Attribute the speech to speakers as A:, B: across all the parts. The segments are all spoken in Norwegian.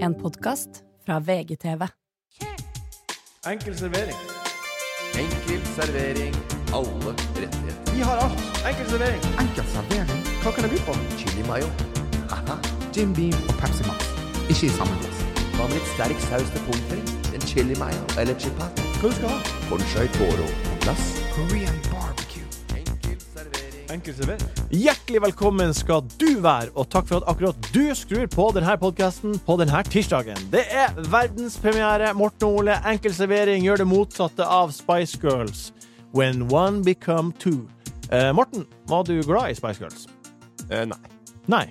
A: En podkast fra VGTV.
B: Enkel servering.
C: Enkel servering, alle rettigheter.
B: Vi har alt. Enkel servering.
D: Enkel servering,
B: Hva kan jeg by på?
C: Chili mayo. Haha.
D: Jim Beam og Pepsi Max. Ikke i samme glass.
C: Hva med litt sterk saus til pommes frites? En chili mayo eller chipat?
B: Hva du skal ha?
C: Conchai toro på glass.
D: Korean barbecue.
C: Enkel servering.
B: Enkel servering. Hjertelig velkommen skal du være, og takk for at akkurat du skrur på denne podkasten på denne tirsdagen. Det er verdenspremiere. Morten og Ole, enkel servering gjør det motsatte av Spice Girls. When one become two. Eh, Morten, var du glad i Spice Girls?
C: Eh, nei.
B: Nei.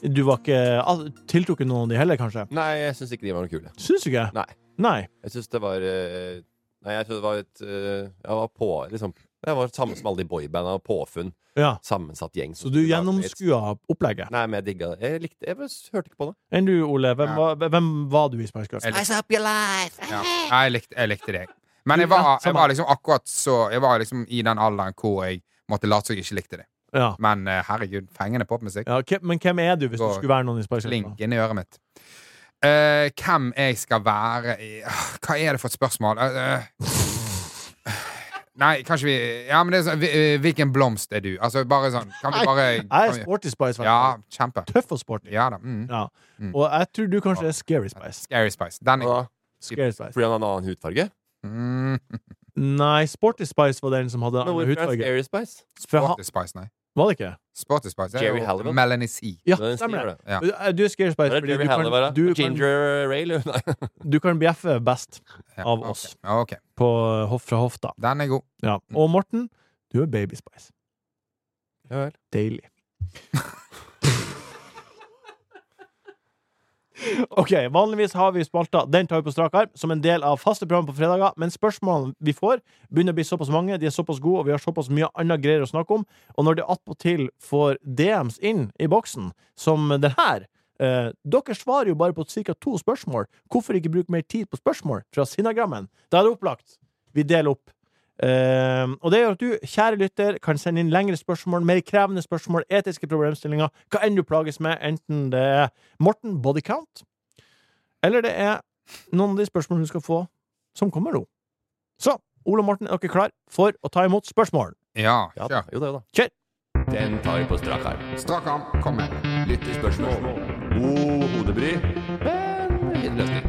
B: Du var ikke al- tiltrukket noen av de heller, kanskje?
C: Nei, jeg syns ikke de var noe kule.
B: Syns du ikke?
C: Nei.
B: Nei.
C: Jeg syns det var eh, Nei, jeg tror det var et eh, Jeg var på, liksom. Jeg var samme som alle de boybanda og påfunn.
B: Ja.
C: Sammensatt gjeng.
B: Så du gjennomskua opplegget?
C: Nei, men jeg digga det. Jeg likte Jeg bare hørte ikke på det.
B: Enn du, Ole. Hvem,
D: Ja.
B: var, hvem var du i Spice Girls?
D: Jeg likte,
C: up your life.
D: ja. jeg, likte, jeg likte det. Men jeg
B: Ja,
D: var, jeg
B: samme.
D: var liksom akkurat så Jeg var liksom i den alderen hvor jeg måtte late som jeg ikke likte det.
B: Ja.
D: Men eh, herregud, fengende popmusikk.
B: Ja, hvem- men hvem er du hvis du
D: Går-
B: skulle være noen i Spice Girls?
D: Klink
B: da?
D: inn i øret mitt. Eh, hvem jeg skal være i Ah, Hva er det for et spørsmål? Eh, eh. Nei, kanskje vi Ja, men det er sånn hvi- eh, Hvilken blomst er du? Altså, bare sånn Kan vi bare
B: Jeg er
D: kan vi,
B: sporty Spice. vet du.
D: Ja, kjempe.
B: Tøff og sporty.
D: Ja da. Mm.
B: Ja.
D: Mm.
B: Og jeg tror du kanskje er Scary Spice.
D: Scary Spice. Den er
B: Scary Spice.
C: Fordi han har en annen hudfarge?
D: mm,
B: Nei, Sporty Spice var den som hadde
C: Men
B: annen
C: hvorfor er han
B: hudfarge.
C: Scary Spice?
B: For han-
D: Sporty Spice, nei.
B: Var det ikke?
D: Sporty Spice det er
C: Jerry
D: jo
C: Halliwell.
D: Melanie C.
B: Ja,
C: Den
B: stemmer
C: stemmer
B: det.
C: det.
D: Ja.
B: Du- Du er Scary Spice
C: Det er
B: fordi
C: Jerry
B: du
C: Halliwell,
B: kan, du,
C: da.
B: kan,
C: Ginger Rail, jo. Nei.
B: du kan bjeffe best
D: Ja,
B: Av
D: ok.
B: oss.
D: Ja, ok.
B: på hoff fra hofta.
D: Den er god.
B: Ja.
C: Mm.
B: Og Morten, du er Baby Spice.
C: Ja vel.
B: Deilig. Ok, Vanligvis har vi spalta Den tar vi på strak arm som en del av faste program på fredager. Men spørsmålene vi får, begynner å bli såpass mange, de er såpass gode, og vi har såpass mye annet greier å snakke om. Og når det attpåtil får DMs inn i boksen, som den her eh, Dere svarer jo bare på ca. to spørsmål. Hvorfor ikke bruke mer tid på spørsmål fra Sinnagrammen? Da er det opplagt. Vi deler opp. Eh, og det gjør at du, kjære lytter, kan sende inn lengre spørsmål, mer krevende spørsmål, etiske problemstillinger, hva enn du plages med, enten det er Morten Bodycount, eller det er noen av de spørsmålene du skal få, som kommer nå. Så, Ole og Morten, er dere klar for å ta imot spørsmål?
D: Ja,
C: Ja,
D: kjør.
C: Jo, det, da.
B: Kjør!
C: Den tar vi på strak arm.
D: Strak arm. Kom med.
C: Lyttespørsmål. God hodebry, men fin løsning.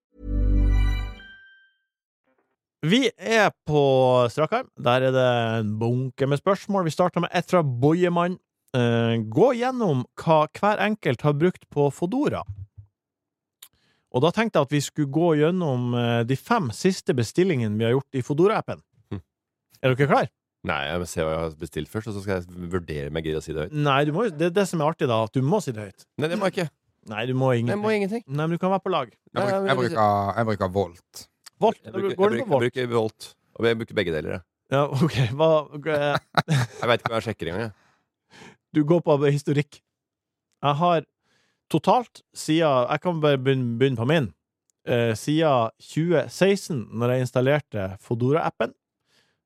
B: Vi er på strak arm. Der er det en bunke med spørsmål. Vi starter med ett fra Bojemann. Eh, gå gjennom hva hver enkelt har brukt på Fodora. Og da tenkte jeg at vi skulle gå gjennom eh, de fem siste bestillingene vi har gjort i Fodora-appen.
C: Hm.
B: Er dere klar?
C: Nei, jeg må se hva jeg har bestilt først, og så skal jeg vurdere om jeg gidder å si det høyt.
B: Nei, du må, jo- det er det som er artig, da. At du må si det høyt.
C: Nei, det må jeg ikke.
B: Nei, du må
C: Jeg
B: ingenting.
C: må ingenting.
B: Nei, men du kan være på lag.
C: Nei,
D: Jeg bruker, jeg
C: vil-
D: bruker, jeg bruker Volt.
B: Volt.
C: Jeg
B: Da
C: bruker, jeg
B: Går du
C: bruker,
B: på Volt?
C: jeg bruker Volt. Og jeg bruker begge deler. jeg.
B: Ja, OK. Hva, eh,
C: Jeg veit ikke hva jeg sjekker engang. jeg.
B: Du går på historikk. Jeg har totalt siden Jeg kan bare begynne, begynne på min. Eh, siden 2016, når jeg installerte Fodora-appen,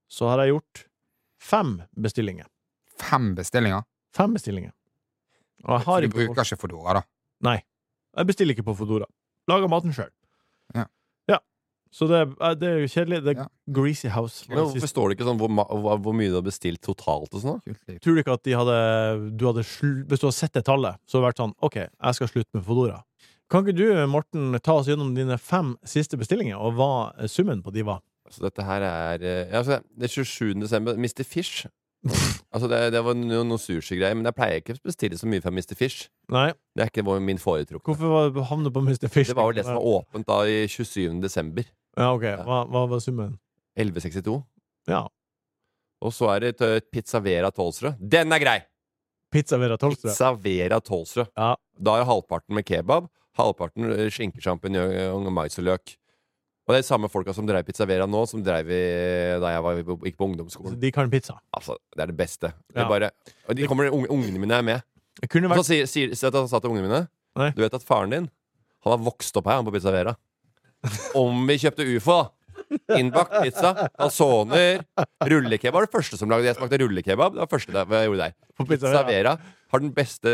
B: så har jeg gjort fem bestillinger.
D: Fem bestillinger.
B: Fem bestillinger. Og jeg
D: Så
B: har
D: du
B: ikke
D: bruker ikke Fodora, da.
B: Jeg bestiller ikke på Fodora. Lager maten sjøl.
D: Ja.
B: ja. Så det, er- det er jo kjedelig. Det er
D: Ja.
B: greasy house.
C: Men hvorfor står det ikke sånn hvor, ma- hva- hvor mye du har bestilt totalt og sånn? da?
D: Kult liv.
B: Tror du ikke at de hadde, du hadde slu- Hvis du hadde sett det tallet, så hadde det vært sånn OK, jeg skal slutte med Fodora. Kan ikke du, Morten, ta oss gjennom dine fem siste bestillinger, og hva eh, summen på de var?
C: Så Altså, dette her er eh, ja, altså, Det er 27. desember. Mr. Fish. altså, det, det var noe, noe sushigreier, men jeg pleier ikke å bestille så mye fra Mr. Fish.
B: Nei,
C: Det er ikke vår- min foretrukne.
B: hvorfor var du havnet på Mr. Fish?
C: Det var vel det som var åpent da i 27. desember.
B: Ja, ok. Hva, hva var summen?
C: 1162.
B: Ja.
C: Og så er det eh, Pizza Vera Tolsrød. Den er grei!
B: Pizza Vera Tolstrø.
C: Pizza Vera Tolsrød.
B: Ja.
C: Da er halvparten med kebab, halvparten eh, skinkesjampinjong og mais og løk. Og det er de samme folka som drev Pizza Vera nå, som drev i, da jeg var, gikk på ungdomsskolen.
B: De kan pizza.
C: Altså, det er det beste. Det
B: Ja.
C: er bare, og de kommer, unge, ungene mine er med.
B: Det kunne
C: Så
B: vært
C: sier, sier, sier at han sa til ungene mine
B: Nei.
C: Du vet at faren din Han har vokst opp her han på Pizza Vera Om vi kjøpte UFO da Innbakt pizza, kalsoner Rullekebab var det første som lagde Jeg smakte rullekebab, det var det første der- jeg gjorde der
B: på Pizza
C: Pizza
B: Vera.
C: Vera har den beste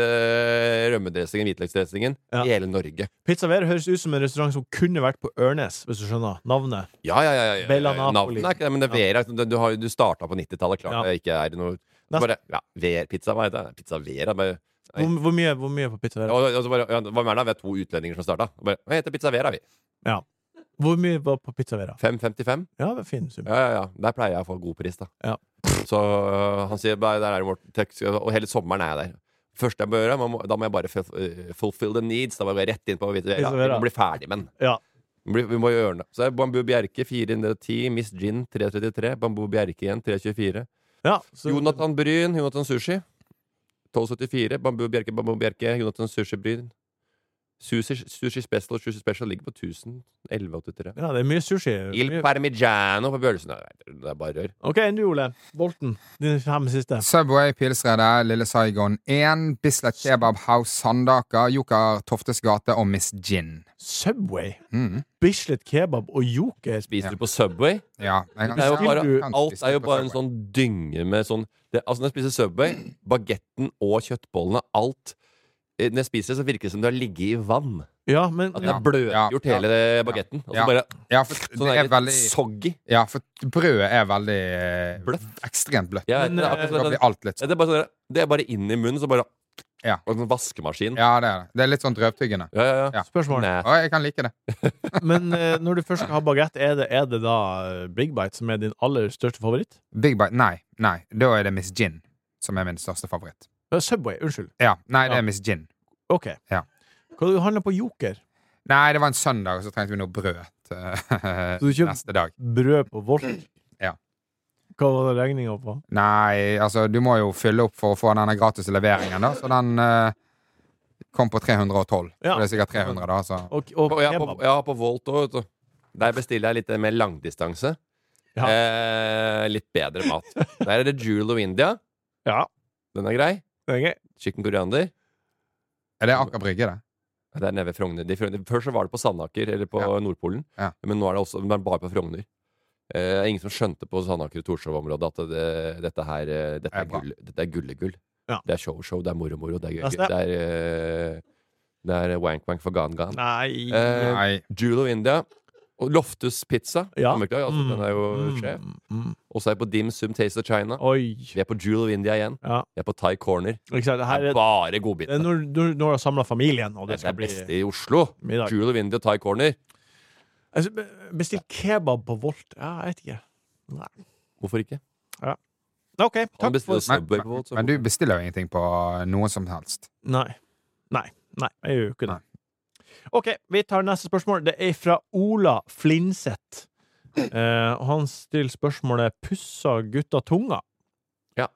C: rømmedressingen, hvitløksdressingen
B: Ja.
C: I hele Norge
B: Pizza Vera høres ut som en restaurant som kunne vært på Ørnes, hvis du skjønner navnet.
C: Ja, ja, ja, ja, ja.
B: Bella Napoli.
C: Navnet er ikke det, men det er Vera Du, du, har- du startet på 90-tallet, klart
B: Ja.
C: det ikke er noe
B: Neste-
C: bare, ja, Ver, pizza, hva heter det? Pizza Vera bare, Nei.
B: Hvor, hvor, mye, hvor mye på Pizza Vera?
C: og, og så bare, ja, Hva mener du? Vi er to utlendinger som startet Og bare, Hva heter Pizza Vera vi?
B: Hvor mye var på Pizza Vera?
C: 5,55
B: Ja, det er fin sum.
C: Ja, ja, ja. Der pleier jeg å få god pris, da.
B: Ja.
C: Så øh, han sier bare, der er det Morten Tøks, og hele sommeren er jeg der. Første jeg bør gjøre, man må, da må jeg bare fu- øh, fulfill the needs. Da må jeg bare rett inn på Vita Vera.
B: Vita Vera.
C: Vi må bli ferdig med den.
B: Ja.
C: Vi, blir- vi må gjøre det. Så er Bambu Bjerke 410, Miss Gin 333, Bambu Bjerke igjen 324.
B: Ja, så,
C: Jonathan Bryn, Jonathan Sushi 1274. Bambu Bjerke, Bambu Bjerke, Jonathan Sushi Bryn. Sushi, sushi Special Sushi Special ligger på 1011,83.
B: ja, det er mye sushi.
C: Il
B: Mye.
C: Parmigiano på Bjølsen. Det er bare rør.
B: Ok, enn du, Ole. Bolten. Dine fem siste.
D: Subway, Pilsredet, Lille Saigon 1, Bislett Kebab House, Sandaker, Joker Toftes gate og Miss Gin.
B: Subway,
D: Mm.
B: Bislett kebab og Joker.
C: Spiser du på Subway?
D: Ja, jeg kan-
C: Det er jo
D: kan-
C: bare,
D: kan
C: alt
D: spise
C: er jo
D: på
C: bare en
D: Subway.
C: sånn dynge med sånn det, Altså Når jeg spiser Subway, bagetten og kjøttbollene, alt eh, Når jeg spiser det, så virker det som du har ligget i vann.
B: Ja, men
C: At
D: Ja.
C: det er bløtgjort
D: Ja.
C: hele bagetten. Og så
D: Ja.
C: bare
D: Ja, for
C: sånn
D: det er veldig
C: soggy.
D: Ja, for brødet er veldig eh,
C: Bløtt.
D: Ekstremt bløtt.
C: Ja,
B: Men,
C: det, er
B: eh,
D: Det
C: akkurat
D: blir
C: sånn-
D: alt litt
C: Ja,
D: sånn.
C: det, er bare sånn, det er bare inn i munnen, så bare
D: Ja.
C: Og sånn vaskemaskin. Ja,
D: Ja, det er det. Det er litt sånn drøvtyggende.
C: ja, ja.
D: Ja.
B: spørsmål.
C: Nei.
D: Å, jeg kan like det.
B: Men eh, når du først skal ha bagett, er det, er det da eh, Big Bite som er din aller største favoritt?
D: Big Bite Nei, nei. Da er det Miss Gin som er min største favoritt.
B: Eh, Subway, unnskyld.
D: Ja, Nei, det
B: Ja.
D: er Miss Gin.
B: Ok.
D: Ja.
B: Hva du handler på Joker?
D: Nei, det var en søndag, og så trengte vi noe brød til
B: du kjøpte-
D: neste dag.
B: Brød på Volt?
D: Ja.
B: Hva var regninga på?
D: Nei, altså, du må jo fylle opp for å få denne gratis leveringen, da. Så den eh, kom på 312.
B: Ja.
D: Så det er sikkert 300, da. Så.
B: Og, og
C: På, ja, på,
B: kebab?
C: ja, på Volt òg, vet du. Der bestiller jeg litt eh, mer langdistanse.
B: Ja.
C: Eh, litt bedre mat. Der er det Jewel of India.
B: Ja.
C: Den er grei.
B: Det er gøy.
C: Chicken koriander.
D: Er det Aker Brygge, det?
C: Ja, Det er nede ved Frogner. De, Frogner- før så var det på Sandaker, eller på
D: Ja.
C: Nordpolen.
D: Ja.
C: Men nå er det også men det er bare på Frogner. Eh, det er ingen som skjønte på Sandaker og Torshov-området at det, dette her eh, Dette
D: Er
C: er,
D: bra.
C: gull, dette er gullegull.
B: Ja. Altså,
C: Det er show-show, det er moro-moro, det er gøy.
B: Neste.
C: Det er, eh, det er wank-wank for gan-gan.
B: Nei
C: Eh,
D: Nei.
C: Jewel of India. Og Loftus Pizza.
B: Ja.
C: Hammerklag, altså,
B: Mm,
C: Den er jo sjef.
B: mm, mm.
C: Og så er jeg på Dim Sum Taste of China.
B: Oi.
C: Vi er på Jewel of India igjen.
B: Ja.
C: Vi er på Thai Corner.
B: Ikke sant? Det her
C: Det er
B: er,
C: bare
B: det er
C: godbiter.
B: når, når, når du har samla familien, og
C: Dette
B: det skal
C: er
B: bli
C: beste i Oslo.
B: middag.
C: Jewel of India Thai Corner.
B: Altså, be- bestill kebab på Volt. Ja, jeg vet ikke. Nei.
C: Hvorfor ikke?
B: OK,
C: Han
B: takk
C: bestiller
B: for
D: Men,
C: Subway på Volt. så-
D: men du bestiller jo ingenting på noen som helst.
B: Nei. Nei. Nei, jeg gjør jo ikke det. OK, vi tar neste spørsmål. Det er fra Ola Flinseth. Eh, og han stiller spørsmålet 'Pusser gutta tunga'?
C: Ja.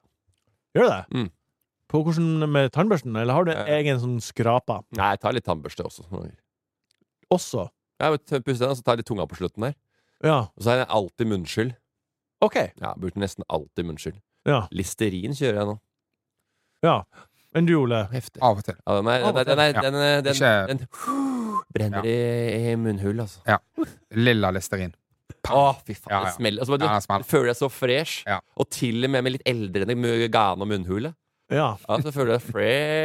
B: Gjør det?
C: Mm.
B: På hvordan med tannbørsten, eller har du en
C: Eh.
B: egen sånn skraper
C: Nei, jeg tar litt tannbørste også. Nei,
B: også?
C: men t- Puss den, og så tar jeg litt tunga på slutten der.
B: Ja.
C: Og så har jeg alltid munnskyld.
B: OK.
C: Ja, Brukte nesten alltid munnskyld.
B: Ja.
C: Listerin kjører jeg nå.
B: ja. Enn du, Ole?
C: Heftig.
D: Av og til.
C: Ja, den, er,
B: Av og
C: den, er,
D: til.
C: den, er, den,
D: Ikke-
C: den, brenner i, i munnhull, altså.
D: Lilla listerin.
C: Å, fy faen,
D: Ja, ja.
C: det smeller. Altså,
D: Ja, det
C: bare,
D: smeller.
C: du, du føler deg så fresh.
D: Ja.
C: Og til og med med litt eldre enn det gane og munnhulet.
B: Ja.
C: Ja, så føler du deg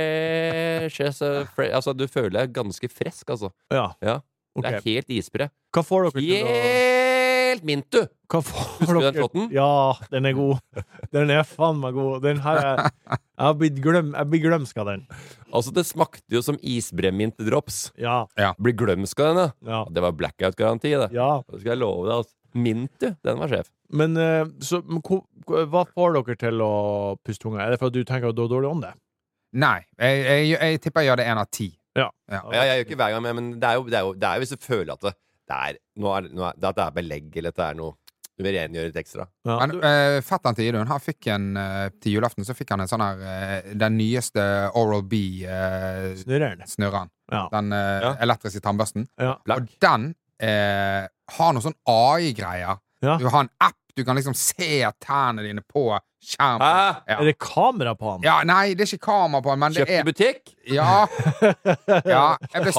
C: fresh, as a fre- Altså, du føler deg ganske frisk, altså.
B: Ja.
C: Ja.
B: Ok.
C: Det er helt isbre.
B: Hva får dere til å
C: Helt mint, du!
B: Hva får
C: Husker du
B: dere
C: den shotten?
B: Ja, den er god. Den er faen meg god. Den her er, Jeg blir glem, jeg blir glemsk av den.
C: Altså, det smakte jo som isbrennevin til drops.
B: Ja.
C: Blir glemsk av denne.
B: Ja.
C: Det var blackout-garanti, det.
B: ja.
C: Det skal jeg love deg. Altså. Mint, du. Den var sjef.
B: Men, eh, så, men hvor- hvor- hva får dere til å puste tunga? Er det fordi du tenker at du har dårlig ånde?
D: Nei. Jeg, jeg, jeg tipper jeg gjør det én av ti.
C: Ja, jeg gjør ikke hver gang, men- men det er jo, det er jo, det er jo hvis du føler at det, det, er, nå er, nå er, det at det er belegg, eller at det er noe Du vil rengjøre litt ekstra.
B: Ja.
D: Men
B: Du,
D: eh, fetteren til Idun, han fikk en eh, til julaften så fikk han en sånn her eh, Den nyeste Oral B-snurren.
B: snurrer den. Ja.
D: den eh,
C: Ja.
D: elektriske tannbørsten.
B: Ja.
C: Black.
D: Og den eh, har noen sånn AI-greier.
B: Ja.
D: Du har en app, du kan liksom se tærne dine på skjermen.
C: Hæ?
D: Ja.
B: Er det kamera på han?
D: ja, nei, det er ikke kamera på den, men det
C: Kjøpt i
D: er
C: butikk?
D: Ja. ja jeg ble,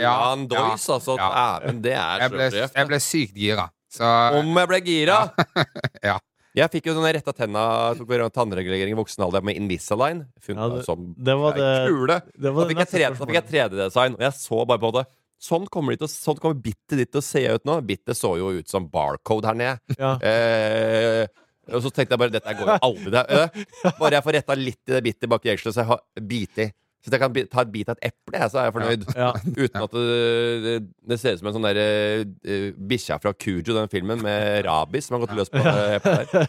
D: ja,
C: Halland
D: ja.
C: Doys, altså.
D: Ja.
C: Dæven, det er
D: Jeg ble,
C: sjøbrøft.
D: jeg ble sykt gira. Så
C: Om jeg ble gira!
D: Ja.
C: Jeg fikk jo sånne retta tenna tok vi tannregulering i voksen alder med Invisalign. Funka
B: Ja, det-
C: som
B: det var
C: ei
B: det-
C: kule.
B: det
C: Da
B: var det
C: fikk jeg
B: neste
C: 3D da fikk jeg 3D-design, og jeg så bare på det. Sånn kommer, de til, å- sånn kommer bittet ditt til å se ut nå. Bittet så jo ut som barcode her nede.
B: Ja.
C: Eh, og så tenkte jeg bare dette går jo aldri. Det, eh, bare jeg får retta litt i det bittet bak i eggelet, så jeg har bit i. Så jeg kan bi- ta et bit av et eple, jeg, så er jeg fornøyd.
B: Ja.
C: Uten at det, det, det ser ut som en sånn der uh, bikkja fra Kujo, den filmen, med rabis som har gått løs på eh, eplet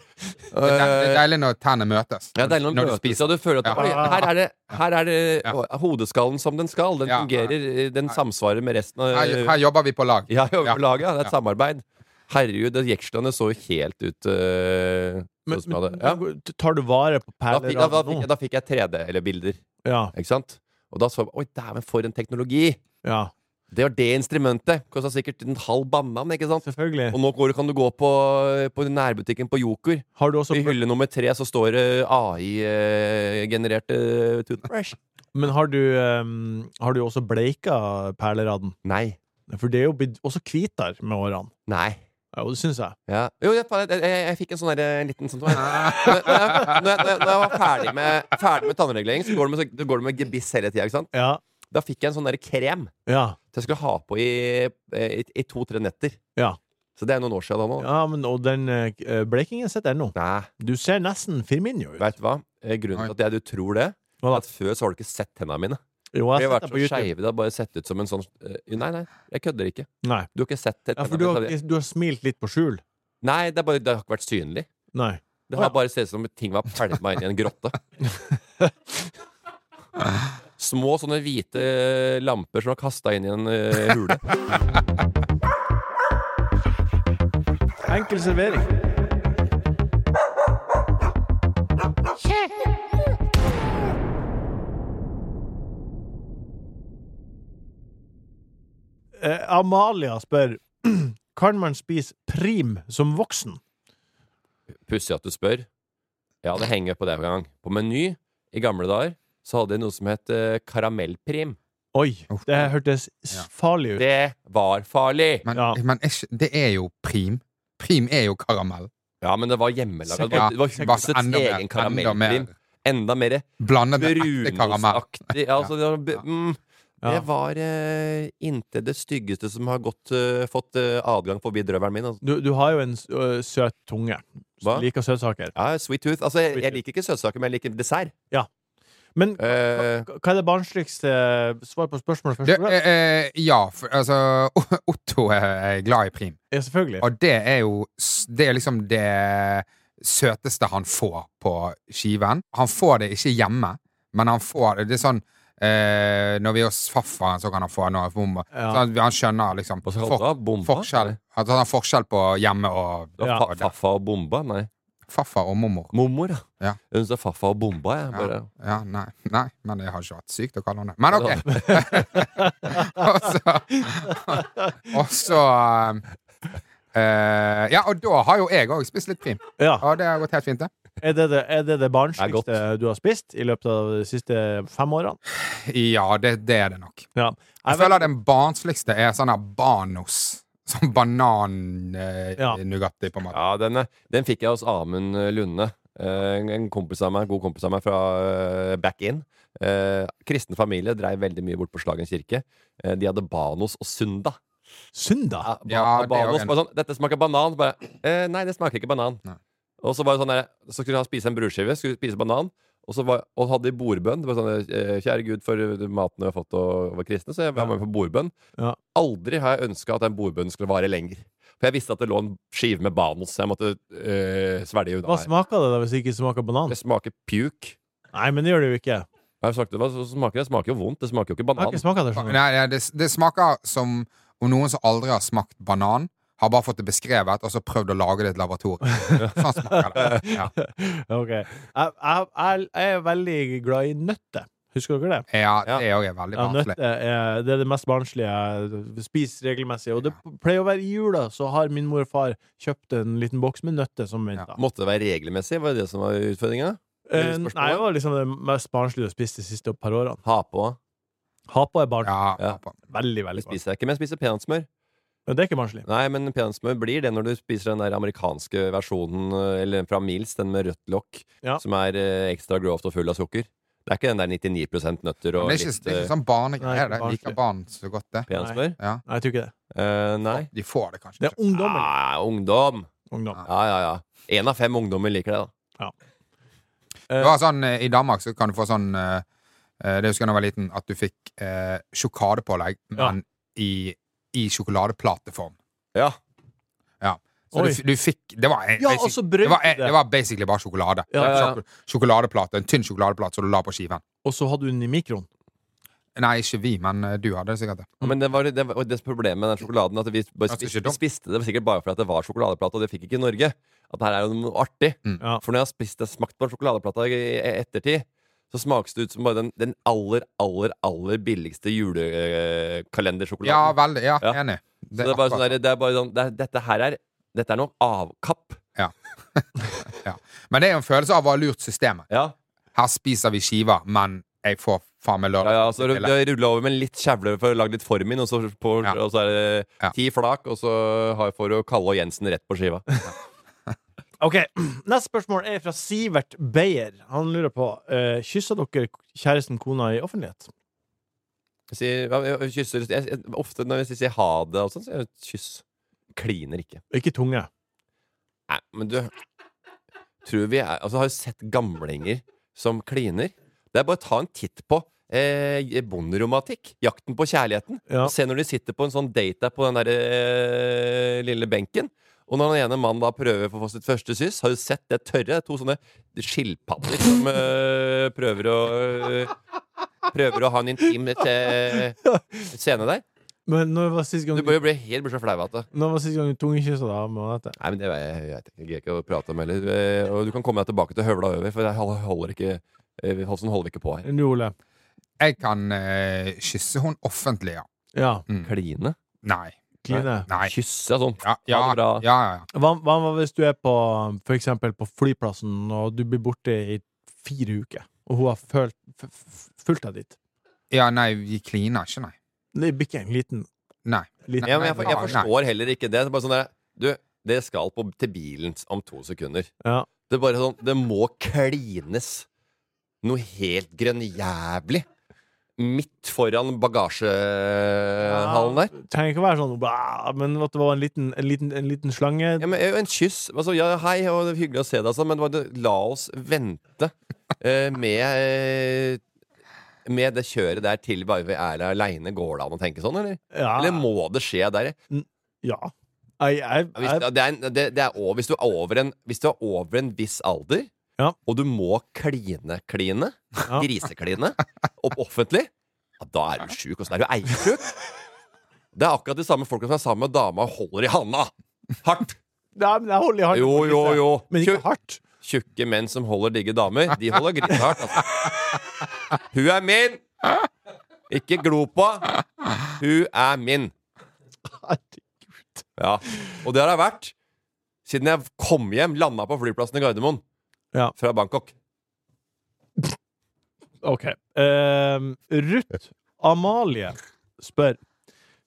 C: der.
D: det er det er deilig når tennene møtes.
C: Ja, det er noen
D: Når du
C: møtes,
D: spiser.
C: og du føler at
D: Ja.
C: oi, her er det, her er det
D: Ja.
C: å, hodeskallen som den skal. Den
D: Ja.
C: fungerer, eh, den samsvarer med resten av
D: Her, her jobber vi på lag.
C: Ja, jeg jobber på
D: Ja.
C: laget. ja. Det er et
D: Ja.
C: samarbeid. Herregud, det jekslene så jo helt ut eh,
B: Men,
C: sånn som jeg
B: men,
C: hadde. Ja.
B: tar du vare på
C: Da,
B: perler
C: fikk, da, da,
B: av
C: fikk,
B: nå?
C: da fikk jeg 3D, eller bilder,
B: Ja.
C: ikke sant? Og da så jeg Oi, dæven, for en teknologi!
B: ja.
C: Det var det instrumentet. Kosta sikkert en halv bannan, ikke sant?
B: Selvfølgelig.
C: Og nå går, kan du gå på, på nærbutikken på Joker.
B: Har du også
C: I hylle nummer tre så står det AI-genererte toothbrush.
B: Men har du, ehm, har du også bleika perleradden?
C: Nei.
B: For det er jo blitt også hvitere med årene.
C: Nei.
B: Ja, og det syns jeg.
C: Ja. Jo, jeg, jeg, jeg, jeg fikk en sånn der, en liten sånn Når jeg, når jeg, når jeg, når jeg var ferdig med, ferdig med tannregulering, så går det med, så går det med gebiss hele tida, ikke sant?
B: Ja.
C: Da fikk jeg en sånn der krem
B: Ja.
C: som jeg skulle ha på i, eh, i, i to-tre netter.
B: Ja.
C: Så det er noen år siden da nå.
B: ja men, og den eh, bleikingen sitter ennå.
C: Nei,
B: Du ser nesten Firminio ut.
C: veit du hva? Eh, Grunnen til at jeg, du tror det,
B: Hva da?
C: er at før så har du ikke sett tennene mine.
B: Jo,
C: De har
B: jeg har sett
C: vært så
B: deg på YouTube.
C: skeive. Det har bare sett ut som en sånn eh, Nei, nei, jeg kødder ikke.
B: Nei.
C: Du har ikke sett
B: Ja,
C: tennene
B: for du har,
C: mine.
B: ikke- du har smilt litt på skjul.
C: Nei, det, er bare, det har ikke vært synlig.
B: Nei.
C: Det
B: Å,
C: har
B: ja.
C: bare sett ut som om ting var pælma inn i en grotte. Små sånne hvite eh, lamper som var kasta inn i en eh, hule.
B: Enkel servering. Eh, Amalia spør Kan man spise prim som voksen?
C: Pussig at du spør. Ja, det henger på det en gang. På Meny i gamle dager så hadde de noe som het eh, karamellprim.
B: Oi,
D: Uff.
B: det hørtes s-
D: Ja.
B: farlig ut.
C: Det var farlig!
D: Men,
B: Ja.
D: men er ikke- det er jo prim. Prim er jo karamell.
C: Ja, men det var hjemmelaga. Det
D: Ja,
C: var, det var
D: bare
C: husets
D: enda mer-
C: egen
D: enda mer
C: karamellprim. Enda mer
D: Blandet med ekte karamell.
C: brunostaktig. Ja, altså, det var b-
D: Ja.
C: mm,
B: Ja.
C: Det var eh, inntil det styggeste som har gått, eh, fått eh, adgang forbi drøvelen min. Altså.
B: Du, du har jo en s- ø, søt tunge.
C: Hva?
B: Liker søtsaker.
C: Ja, sweet tooth. Altså, jeg,
B: Sweet
C: jeg
B: tooth.
C: liker ikke søtsaker, men jeg liker dessert.
B: Men
C: Eh,
B: hva er det barnsligste Svar på spørsmålet først.
D: Det,
B: Olav?
D: eh, eh, ja, for, altså Otto er glad i prim.
B: Ja, selvfølgelig.
D: Og det er jo s- Det er liksom det søteste han får på skiven. Han får det ikke hjemme, men han får det. Det er sånn eh, Når vi er hos farfaren, så kan han få noe. for-
B: Ja.
D: Så han, han skjønner liksom
C: Hva skal
D: for-
C: du ha? Bomba?
D: forskjell. At han har forskjell på hjemme og
C: det var
B: Ja.
C: fa faffa og bomba? Nei.
D: farfar og mormor.
C: Mormor,
D: Ja.
C: Hun sa faffa og bomba, jeg. Bare.
D: Ja, ja nei, nei, men det har ikke vært sykt å kalle han det. Men ok! og så, og så um, eh, Ja, og da har jo jeg òg spist litt prim.
B: Ja.
D: Og det har gått helt fint, det.
B: Er det det, er det, det
C: Det
B: barnsligste du har spist i løpet av de siste fem årene?
D: Ja, det, det er det nok.
B: Ja.
D: Jeg føler den barnsligste er sånn her banos. Sånn
B: Ja.
D: banan-nugatti, på en måte.
C: Ja, den, eh, den fikk jeg hos Amund eh, Lunde. Eh, en- en kompis av meg, god kompis av meg fra eh, back in. Eh, kristen familie dreiv veldig mye bort på Slagen kirke. Eh, de hadde Banos og Sunda.
B: Sunda?
C: Ja, ba
D: Ja, det er jo
C: banos,
D: en-
C: bare sånn, Dette smaker banan. Bare, eh, nei, det smaker ikke banan.
D: Nei.
C: Og så, bare sånn der, så skulle han spise en brødskive, skulle spise banan. Og så var, og hadde de bordbønn. Det var sånn, eh, Kjære Gud, for maten vi har fått og var kristne, så jeg var med på bordbønn.
B: Ja.
C: Aldri har jeg ønska at den bordbønnen skulle vare lenger. For jeg visste at det lå en skive med Banos jeg måtte eh, svelge unna.
B: Hva
C: her.
B: smaker det da hvis det ikke smaker banan?
C: Det smaker puke.
B: Nei, men det gjør det jo ikke.
C: Hva har jeg sagt? Hva smaker det? Det smaker jo vondt. Det smaker jo ikke
B: Jeg har
C: banan.
B: ikke smaka det. skjønner du.
D: Nei, nei, det, det smaker som om noen som aldri har smakt banan, har bare fått det beskrevet, og så prøvd å lage det i et laboratorium. Sånn smaker det. Ja.
B: Ok. Jeg, jeg, jeg, jeg er veldig glad i nøtter. Husker dere det?
D: ja, det er òg veldig
B: Ja,
D: barnslig.
B: nøtter er, det er det mest barnslige. Spis regelmessig. Og det pleier å være i jula, så har min mor og far kjøpt en liten boks med nøtter som venta.
C: Måtte det være regelmessig? Var det det som var utfordringa?
B: Eh, Nei, det var liksom det mest barnslige du har spist de siste par årene.
C: Ha på.
B: Ha på er barnslig.
D: Ja,
C: Ja.
D: pappa.
B: Veldig, veldig
C: Det
B: barnslig.
C: spiser jeg ikke, men jeg spiser peanøttsmør.
B: Men Det er ikke barnslig.
C: Nei, men peanøttsmør blir det når du spiser den der amerikanske versjonen eh, Eller fra Mills, den med rødt lokk,
B: Ja.
C: som er eh, ekstra grovt og full av sukker. Det er ikke den der 99 nøtter
D: Men
C: og
D: Det er ikke,
C: litt
D: det er
C: eh,
D: ikke sånn
B: Nei,
D: barnegreier. det. Jeg Liker barn så godt, det.
C: peanøttsmør.
D: Ja.
B: Nei, jeg tror ikke det.
C: Eh, nei.
D: De får det kanskje
B: Det er
D: ikke.
B: ungdommen.
C: Ah, ungdom!
B: Ungdom.
C: Ja, ja, ja. Én av fem ungdommer liker det, da.
D: Det var sånn, eh, I Danmark så kan du få sånn eh, eh, Det husker jeg da jeg var liten, at du fikk eh, sjokadepålegg,
B: Ja.
D: men i, i sjokoladeplateform.
C: Ja.
D: Ja. Så
B: Oi.
D: du, du fikk Det var,
B: Ja,
D: basic-
B: og så brøt
D: det var,
B: du det.
D: det var basically bare sjokolade.
B: Ja, ja, ja.
D: Sjok- Sjokoladeplate, En tynn sjokoladeplate som du la på skiven.
B: Og så hadde du den i mikroen.
D: Nei, ikke vi, men eh, du hadde det sikkert. det.
C: Men det var det, var, det problemet med den sjokoladen At vi, bare
D: Ganske
C: spiste,
D: dumt.
C: vi spiste det sikkert bare fordi at det var sjokoladeplate, og det fikk ikke i Norge. At det her er jo noe artig.
D: Mm.
B: Ja.
C: For når jeg har spist, smakt på sjokoladeplata i i ettertid, så smakes det ut som bare den, den aller, aller, aller billigste julekalendersjokoladen.
D: Ja, veldig. Ja,
C: Ja.
D: enig.
C: Så det er bare sånn der, det er bare sånn det er, Dette her er Dette er noe avkapp.
D: Men det er jo en følelse av å ha lurt systemet.
C: Ja,
D: Her spiser vi skiver, men jeg får faen meg
C: ja,
D: lørdag.
C: ja altså, så du har rulla over med litt kjevle for å lage litt form inn, og så, på,
D: Ja.
C: og så er det
D: Ja.
C: ti flak, og så har- får du Kalle og Jensen rett på skiva.
B: Ok, Neste spørsmål er fra Sivert Beyer. Han lurer på uh, Kyssa dere kjæresten kona i offentlighet.
C: Jeg sier, hva- jeg- jeg kysser, jeg, jeg, ofte når jeg sier ha det, og sånn, så er det kyss. Kliner ikke.
B: Ikke tunge.
C: Nei, men du Tror vi er Altså, har du sett gamlinger som kliner? Det er bare å ta en titt på eh, bonderomantikk. Jakten på kjærligheten.
B: Ja.
C: Og se når de sitter på en sånn date der på den der eh, lille benken. Og når den ene mannen da prøver for å få sitt første kyss, har du sett det tørre? Det er To sånne skilpadder som eh, prøver å eh, Prøver å ha en intim eh, scene der.
B: Men når var sist gang
C: Du
B: du,
C: bør jo bli helt blir så flau at det
B: når var sist gang du tungekyssa da med Anette?
C: Nei, men det vet jeg, jeg vet ikke. Jeg gidder ikke å prate om heller. Eh, Og du kan komme deg tilbake til høvla over, for jeg hol- holder ikke eh, Sånn holder vi ikke på her.
B: Nå, Ole.
D: Jeg kan eh, kysse hun offentlig, ja.
B: Ja.
C: Kline?
D: Nei.
B: Kline.
D: Nei.
C: Kysse sånn.
D: Ja, ja,
C: Ha det
D: ja,
C: bra.
D: ja, ja.
B: Hva, hva hvis du er på for eksempel på flyplassen, og du blir borte i fire uker, og hun har følt, f- f- fulgt deg dit?
D: ja nei, vi kliner ikke, nei.
B: Det blir ikke en liten
D: Nei.
B: liten-
C: Ja, men jeg, for- jeg
D: Nei.
C: forstår heller ikke det. det er bare sånn der, du, det skal på, til bilen om to sekunder.
B: Ja.
C: Det er bare sånn Det må klines noe helt grønnjævlig midt foran bagasjehallen der.
B: Trenger ikke å være sånn "Bah", Men at det var en liten, en liten, en liten slange
C: Ja, men eh, en kyss. Altså, ja, hei, og det er hyggelig å se deg, altså, men det- la oss vente eh, med eh, med det kjøret der til bare vi er aleine, går det an å tenke sånn, eller?
B: Ja.
C: Eller må det skje der?
B: ja. Jeg, jeg,
C: Hvis,
B: jeg,
C: det er, en- det, det er over, hvis, du er over en, hvis du er over en viss alder,
B: Ja.
C: og du må kline-kline,
B: Ja.
C: grisekline, opp offentlig, ja, da er du sjuk. Åssen er du eiersjuk? Det er akkurat de samme folka som er sammen med dama og holder i handa. Hardt!
B: Nei, men jeg holder i hånden.
C: Jo,
B: på
C: jo,
B: krysset.
C: jo.
B: Men ikke
C: Kjør-
B: hardt.
C: Tjukke menn som holder digge damer, de holder grisehardt. Altså. Hun er min! Ikke glo på. Hun er min. Ja. Og det har jeg vært siden jeg kom hjem, landa på flyplassen i Gardermoen
B: Ja.
C: fra Bangkok.
B: Ok. Ehm, Ruth Amalie spør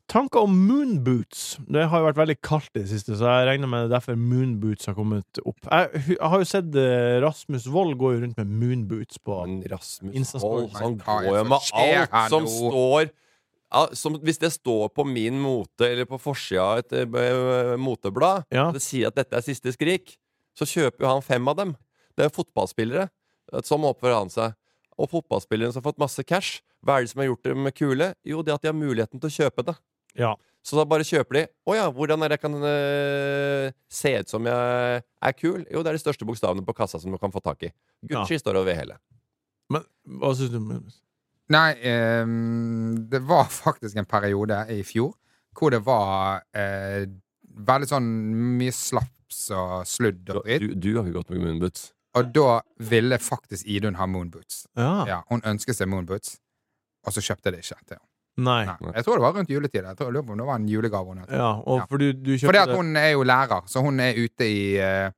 B: Tanker om moonboots. Det har jo vært veldig kaldt i det siste, så jeg regner med det er derfor moonboots har kommet opp. Jeg, hu- jeg har jo sett eh, Rasmus Wold gå jo rundt med moonboots på
C: Men Rasmus
B: Insta-story.
C: Holt, han
D: Men hva
C: går
D: er
C: jo
D: det
C: med
D: som skjer her
C: alt som
D: nå?
C: står ja, som, Hvis det står på min mote eller på forsida av et eh, moteblad,
B: Ja.
C: og det sier at dette er siste skrik, så kjøper jo han fem av dem. Det er jo fotballspillere. At Sånn oppfører han seg. Og fotballspillerne som har fått masse cash, hva er det som har gjort dem kule? Jo, det at de har muligheten til å kjøpe det.
B: Ja.
C: Så da bare kjøper de. Å ja, hvordan er det jeg kan øh, se ut som jeg er kul? Jo, det er de største bokstavene på kassa som du kan få tak i. Gucci står over hele.
B: Men hva syns du? om-
D: Nei, ehm, det var faktisk en periode i fjor hvor det var eh, veldig sånn mye slaps og sludd og dritt.
C: Du, du har ikke gått med moonboots.
D: Og da ville faktisk Idun ha moonboots.
C: Ah.
B: Ja.
D: Ja, hun ønsket seg moonboots, og så kjøpte jeg det ikke til henne.
B: Nei.
D: Nei. Jeg tror det var rundt juletid. Jeg tror jeg lurer på om det var en julegave hun hadde.
B: Ja, og
D: Ja.
B: for du, du kjøpte
D: Fordi at
B: det-
D: hun er jo lærer, så hun er ute i eh,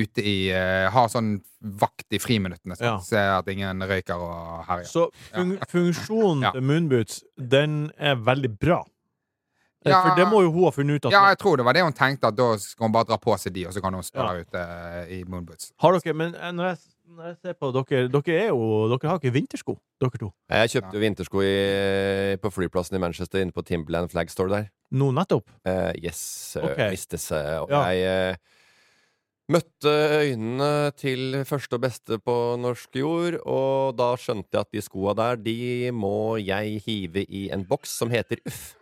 D: Ute i eh, Har sånn vakt i friminuttene. Sånn.
B: Ja.
D: Ser at ingen røyker og herjer.
B: Så fun funksjonen
D: Ja.
B: til Moonboots, den er veldig bra. Eh,
D: Ja.
B: For det må jo hun ha funnet ut at
D: Ja, jeg tror det var det hun tenkte, at da skal hun bare dra på seg de, og så kan hun stå
B: Ja.
D: der ute eh, i moonboots.
B: Har dere Men eh, når jeg, når jeg ser på dere Dere er jo Dere har ikke vintersko, dere to.
C: Jeg kjøpte jo vintersko i, på flyplassen i Manchester, inne på Timberland Flag Store der.
B: Nå nettopp.
C: Eh, yes, uh,
B: Ok.
C: mistes jeg. Og
B: Ja.
C: jeg eh, møtte øynene til første og beste på norsk jord, og da skjønte jeg at de skoa der, de må jeg hive i en boks som heter Uff.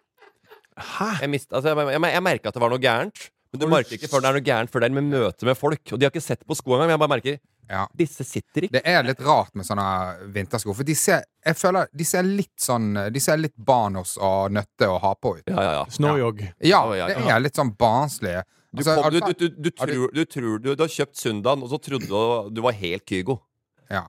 B: Hæ?
C: Jeg, mist, altså, jeg, jeg, jeg merka at det var noe gærent. Men du
B: Har du
C: merker ikke før det er noe gærent før det er med møte med folk. Og de har ikke sett på skoene engang. men Jeg bare merker
D: Ja.
C: disse sitter ikke.
D: Det er litt rart med sånne vintersko, for de ser, jeg føler, de ser litt sånn De ser litt Banos og Nøtte og ha på ut.
C: Ja, ja, ja.
B: Snowjog.
D: Ja,
C: Ja, ja,
D: det
C: ja.
D: er litt sånn barnslige.
C: Du,
D: Altså,
C: kom, du,
D: alfa-
C: du, du, du,
D: har du-
C: tror, du tror du, du har kjøpt Sundan, og så trodde du du var helt Kygo.
D: Ja.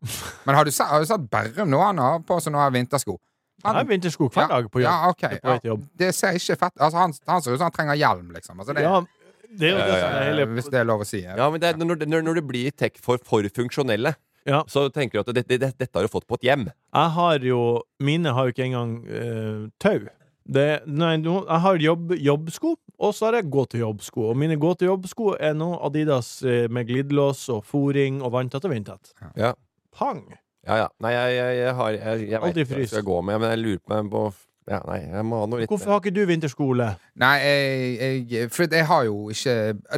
D: Men har du, se- har du sett Berrum nå? Han har på seg noen vintersko.
B: Jeg har vintersko hver dag på jobb.
D: Ja, ok.
B: på vei til jobb.
D: Ja, det ser ikke fett altså, han, han ser ut som han trenger hjelm, liksom. Altså, det,
B: Ja, det er jo
C: Ja,
B: det
C: ja,
B: som
D: eh,
B: er hele
D: Hvis det er lov å si.
C: Ja, men det er, når, når, når det blir tech for, for funksjonelle,
B: Ja.
C: så tenker du at det, det, det, dette har du fått på et hjem.
B: Jeg har jo Mine har jo ikke engang eh, tau. Det, nei, nå- jeg har jobb, jobbsko, og så har jeg gå-til-jobb-sko. Og mine gå-til-jobb-sko er nå Adidas eh, med glidelås og fòring og vanntett og vindtett.
C: Ja.
B: Pang!
C: Ja, ja. Nei, jeg, jeg, jeg har Jeg, jeg
B: Aldri
C: vet ikke hva jeg
B: fryst.
C: skal gå med, men jeg lurer på meg på ja, Nei, jeg må ha noe litt
B: Hvorfor har ikke du vinterskole?
D: Nei, jeg, jeg, for jeg har jo ikke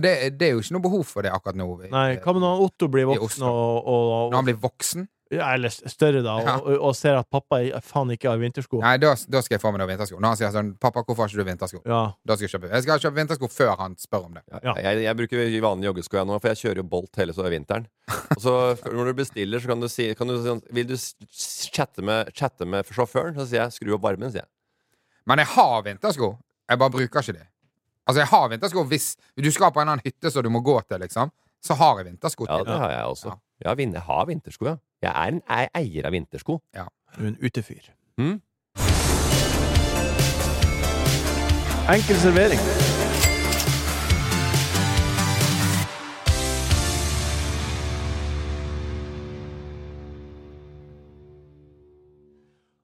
D: det, det er jo ikke noe behov for det akkurat nå.
B: Nei, hva med når Otto blir
D: Eh, I
B: voksen
D: Oslo.
B: og, og,
D: Når han
B: og
D: blir voksen?
B: ja, Eller større, da,
D: Ja.
B: og, og- og ser at pappa i- faen ikke har vintersko?
D: Nei, da, da skal jeg få meg noen vintersko. Når han sier sånn 'Pappa, hvorfor har ikke du vintersko?'
B: Ja.
D: Da skal jeg kjøpe Jeg skal kjøpe vintersko før han spør om det.
B: Ja.
C: Jeg, jeg bruker vanlige joggesko jeg nå, for jeg kjører jo Bolt hele så vinteren. Og så når du bestiller, så kan du si kan du, si sånn, Vil du s- s- chatte med, chatte med sjåføren? Så sier jeg 'skru opp varmen', sier jeg.
D: Men jeg har vintersko. Jeg bare bruker ikke de. Altså, jeg har vintersko hvis du skal på en eller annen hytte som du må gå til, liksom. Så har jeg vintersko
C: Ja,
D: til.
C: det har jeg også.
D: Ja.
C: Ja, vin, jeg har vintersko, ja. Jeg er en jeg er eier av vintersko.
B: Du er en utefyr.
C: Mm.
B: Enkel servering.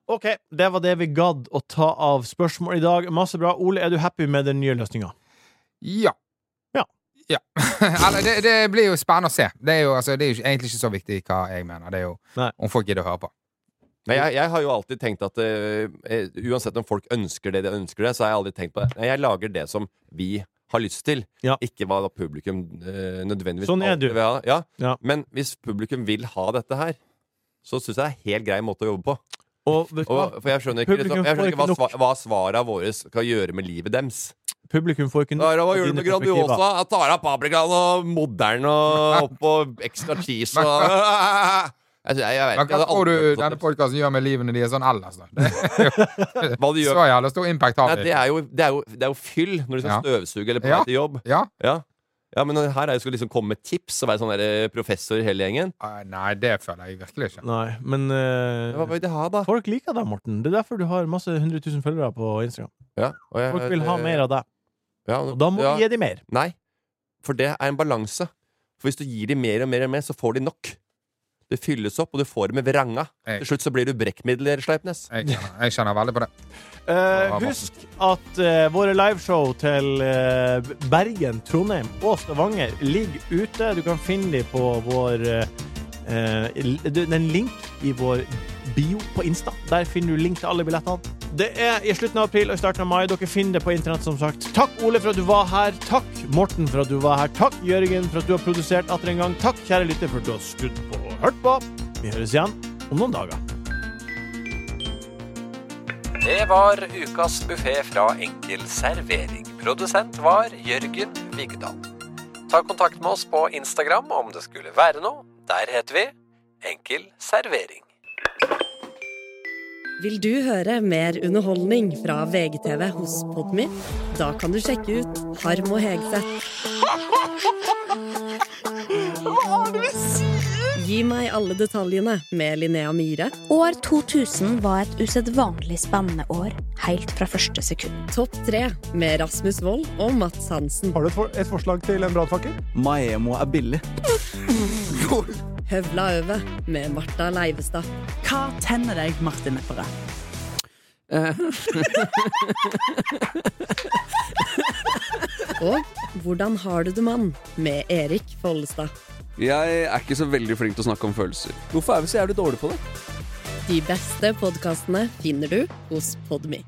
B: OK, det var det vi gadd å ta av spørsmål i dag. Masse bra. Ole, er du happy med den nye løsninga?
D: Ja.
B: Ja.
D: Ja. Eller, det, det blir jo spennende å se. Det er jo, altså, det er jo ikke- egentlig ikke så viktig hva jeg mener. Det er jo
B: Nei.
D: om folk gidder å høre på.
C: Men jeg, jeg har jo alltid tenkt at eh, eh, uansett om folk ønsker det de ønsker det, så har jeg aldri tenkt på det. Nei, jeg lager det som vi har lyst til,
B: Ja.
C: ikke hva publikum eh, nødvendigvis
B: Sånn er
C: alltid
B: du.
C: vil ha. Ja.
B: Ja.
C: Men hvis publikum vil ha dette her, så syns jeg det er en helt grei måte å jobbe på.
B: Og vet du hva?
C: Og, for jeg skjønner ikke,
B: Publikum
C: liksom, jeg
B: får
C: skjønner ikke
B: ikke
C: hva, sva, hva svara våre skal gjøre med livet deres.
B: publikum får ikke nok
C: Hva
B: av
C: gjør du
B: dine
C: med
B: perspektiver.
C: Grandiosa? Jeg tar av paprikaen og modern og opp og ekstra cheese og Jeg, jeg, jeg vet ikke, jeg
D: Men hva
C: hadde
D: tror
C: aldri sånn.
D: du
C: hørt
D: denne
C: sånt.
D: podkasten gjør med livene de er sånn ellers, da? Det er jo-
C: Hva de gjør
D: Så jævla stor impact har
C: Nei, det,
D: vi.
C: er jo, det, er jo, det er jo fyll når du skal
D: Ja.
C: støvsuge eller på
D: Ja.
C: vei til jobb.
D: Ja?
C: Ja. ja, men her er jeg skal liksom komme med tips og være sånn der professor i hele gjengen.
D: Eh, Nei, det føler jeg virkelig ikke.
B: Nei, men eh,
C: Hva vil de ha, da?
B: folk liker deg, Morten. Det er derfor du har masse 100 000 følgere på Instagram.
C: Ja, og jeg- eh,
B: Folk vil ha mer av deg,
C: Ja,
B: og da må
C: ja.
B: vi gi dem mer.
C: Nei, for det er en balanse. For hvis du gir dem mer og mer og mer, så får de nok. Det fylles opp, og du får det med vranga.
D: Jeg-
C: Til slutt så blir du brekkmidler, Sleipnes.
D: Jeg kjenner, jeg kjenner veldig på det.
B: Eh,
D: Ja,
B: husk at eh, våre liveshow til eh, Bergen, Trondheim og Stavanger ligger ute. Du kan finne dem på vår eh, eh, l- Det er en link i vår bio på Insta. Der finner du link til alle billettene. Det er i slutten av april og i starten av mai. Dere finner det på internett, som sagt. Takk, Ole, for at du var her. Takk, Morten, for at du var her. Takk, Jørgen, for at du har produsert atter en gang. Takk, kjære lytter, for at du har skudd på og hørt på. Vi høres igjen om noen dager.
C: Det var ukas buffé fra Enkel servering. Produsent var Jørgen Vigdal. Ta kontakt med oss på Instagram om det skulle være noe. Der heter vi Enkel servering.
E: Vil du høre mer underholdning fra VGTV hos Podmy? Da kan du sjekke ut Harm og Hegseth. Gi meg alle detaljene med Linnea Myhre.
F: År 2000 var et usedvanlig spennende år, helt fra første sekund.
E: Topp tre med Rasmus Wold og Mats Hansen.
B: Har du et, forslag til en brannfakkel?
G: Maemo er billig.
E: Høvla over med Marta Leivestad.
H: Hva tenner deg, Martin Lepperød?
E: Eh. Og Hvordan har du det, mann? med Erik Follestad.
G: Jeg er ikke så veldig flink til å snakke om følelser. Hvorfor er vi så jævlig dårlige på det?
E: De beste podkastene finner du hos Podmy.